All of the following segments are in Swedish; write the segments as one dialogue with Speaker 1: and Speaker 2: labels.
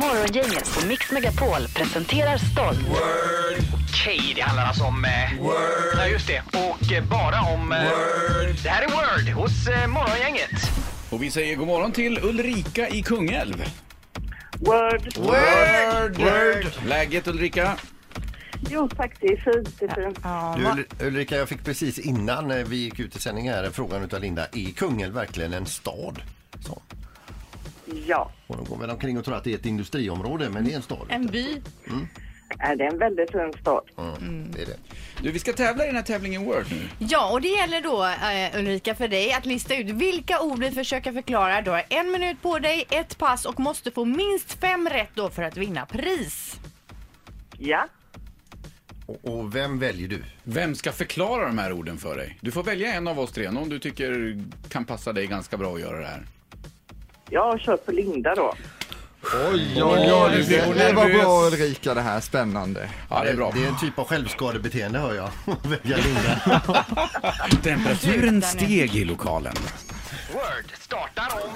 Speaker 1: Morgongänget på Mix Megapol presenterar stolt
Speaker 2: Okej, det handlar alltså om... Eh, Word. Ja, just det. Och eh, bara om... Eh, Word. Det här är Word hos eh, Morgongänget.
Speaker 3: Och vi säger god morgon till Ulrika i Kungälv.
Speaker 4: Word.
Speaker 3: Word! Word! Läget Ulrika?
Speaker 4: Jo tack, det är fint. Det är fint.
Speaker 5: Du, Ul- Ulrika, jag fick precis innan eh, vi gick ut i sändning här en frågan utav Linda. Är Kungälv verkligen en stad? Så.
Speaker 4: Ja,
Speaker 5: Och de går väl omkring och tror att det är ett industriområde, men det är en stad.
Speaker 6: En by.
Speaker 4: är det är en väldigt fin stad.
Speaker 5: Mm. Det är det.
Speaker 3: Du, vi ska tävla i den här tävlingen Word nu.
Speaker 6: Ja, och det gäller då eh, Ulrika för dig att lista ut vilka ord vi försöker förklara. Du har en minut på dig, ett pass och måste få minst fem rätt då för att vinna pris.
Speaker 4: Ja,
Speaker 5: Och, och vem väljer du?
Speaker 3: Vem ska förklara de här orden för dig? Du får välja en av oss tre, någon du tycker kan passa dig ganska bra att göra det här.
Speaker 4: jag kör på Linda då.
Speaker 7: Oj, oj, oj.
Speaker 3: det är
Speaker 7: Det, det var
Speaker 3: nervös.
Speaker 7: bra Ulrika det här, spännande.
Speaker 3: Ja, det är bra.
Speaker 5: Det är en typ av självskadebeteende, hör jag. Välja Linda.
Speaker 3: Temperaturen steg i lokalen.
Speaker 2: Word startar om...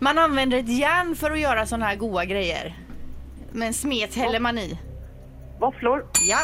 Speaker 6: Man använder ett järn för att göra såna här goda grejer. Men smet häller man i.
Speaker 4: Våfflor,
Speaker 6: Ja.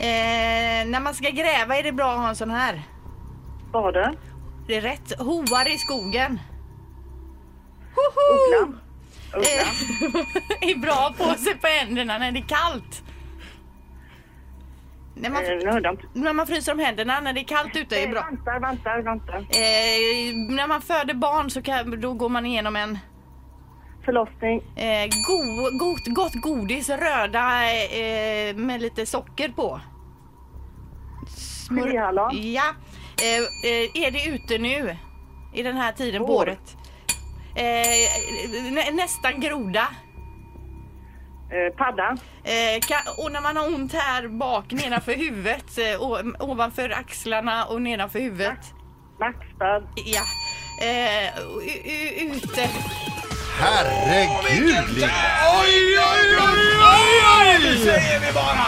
Speaker 6: Eh, när man ska gräva är det bra att ha en sån här.
Speaker 4: spade,
Speaker 6: Det är rätt. Hoar i skogen.
Speaker 4: ugglan.
Speaker 6: Eh, är bra att på sig på händerna när det är kallt. När man,
Speaker 4: Eh, Nu hörde jag inte.
Speaker 6: när man fryser om händerna när det är kallt ute är
Speaker 4: Eh,
Speaker 6: bra.
Speaker 4: Vantar, vantar, vantar.
Speaker 6: Eh, när man föder barn så kan, då går man igenom en
Speaker 4: Förlossning,
Speaker 6: eh, go, gott, gott godis, röda eh, med lite socker på. Smör-
Speaker 4: geléhallon,
Speaker 6: Ja. Eh, eh, är det ute nu? I den här tiden på
Speaker 4: Vår.
Speaker 6: året? Eh, nä, nästan groda.
Speaker 4: eh, padda,
Speaker 6: Eh, ka- och när man har ont här bak nedanför huvudet, eh, o- ovanför axlarna och nedanför huvudet.
Speaker 4: nackspärr,
Speaker 6: Ja. Eh, u- u- ute.
Speaker 5: Herregud, Linda!
Speaker 3: Oj, oj, oj, oj, oj! säger vi bara!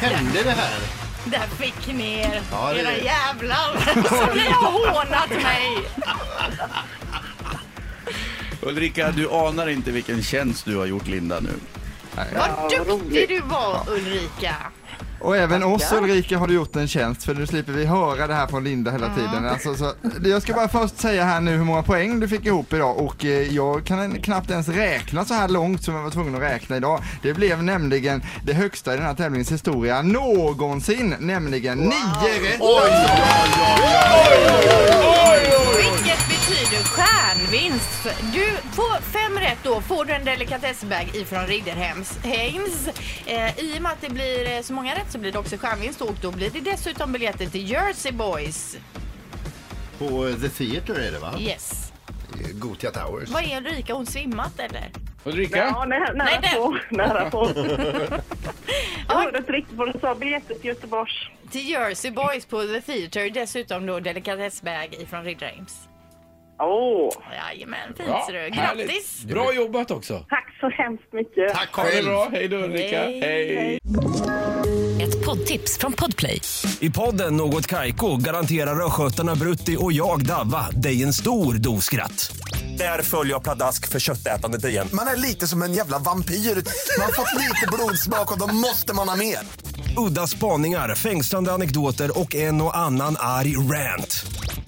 Speaker 5: Hände det här?
Speaker 6: Där fick ni er.
Speaker 5: Ja, det är
Speaker 6: Era
Speaker 5: det.
Speaker 6: jävlar som ni har hånat mig.
Speaker 3: Ulrika, du anar inte vilken tjänst du har gjort Linda nu.
Speaker 6: Vad duktig du var Ulrika.
Speaker 7: Och även oss Ulrika har du gjort en tjänst för nu slipper vi höra det här från Linda hela tiden. Alltså, så, jag ska bara först säga här nu hur många poäng du fick ihop idag och eh, jag kan en- knappt ens räkna så här långt som jag var tvungen att räkna idag. Det blev nämligen det högsta i den här tävlingens historia någonsin, nämligen nio rätt.
Speaker 6: Vilket betyder stjärnvinst. Du får fem rätt då får du en delikatessbag ifrån Ridderhems Heinz. Eh, I och med att det blir eh, så många rätt så blir det också stjärnvinst och då blir det dessutom biljetter till Jersey Boys.
Speaker 5: På eh, The Theater är det, va?
Speaker 6: Yes.
Speaker 5: Eh, Gothia Towers.
Speaker 6: Vad är Ulrika? Har Hon svimmat eller?
Speaker 3: Ulrika?
Speaker 4: ja, nä,
Speaker 6: Nej,
Speaker 4: nära
Speaker 6: den.
Speaker 4: på, nära på. Jag
Speaker 6: Oj.
Speaker 4: hörde inte riktigt vad du sa, biljetter till Göteborgs.
Speaker 6: Till Jersey Boys på The Theatre. Dessutom då delikatessbag ifrån Ridderhems.
Speaker 4: Åh,
Speaker 6: Jajamän, fint
Speaker 3: Ja,
Speaker 6: ser du.
Speaker 3: härligt.
Speaker 6: Grattis!
Speaker 3: Bra jobbat också!
Speaker 4: tack så hemskt mycket.
Speaker 5: Tack
Speaker 3: Ha det
Speaker 5: själv!
Speaker 3: bra, hej då Ulrika!
Speaker 6: Hej.
Speaker 3: hej.
Speaker 1: Ett poddtips från Podplay
Speaker 8: I podden Något Kaiko garanterar östgötarna Brutti och jag, Davva, dig en stor dos skratt. Där följer jag pladask för köttätandet igen.
Speaker 9: Man är lite som en jävla vampyr. Man har fått lite blodsmak och då måste man ha mer.
Speaker 8: Udda spaningar, fängslande anekdoter och en och annan arg rant.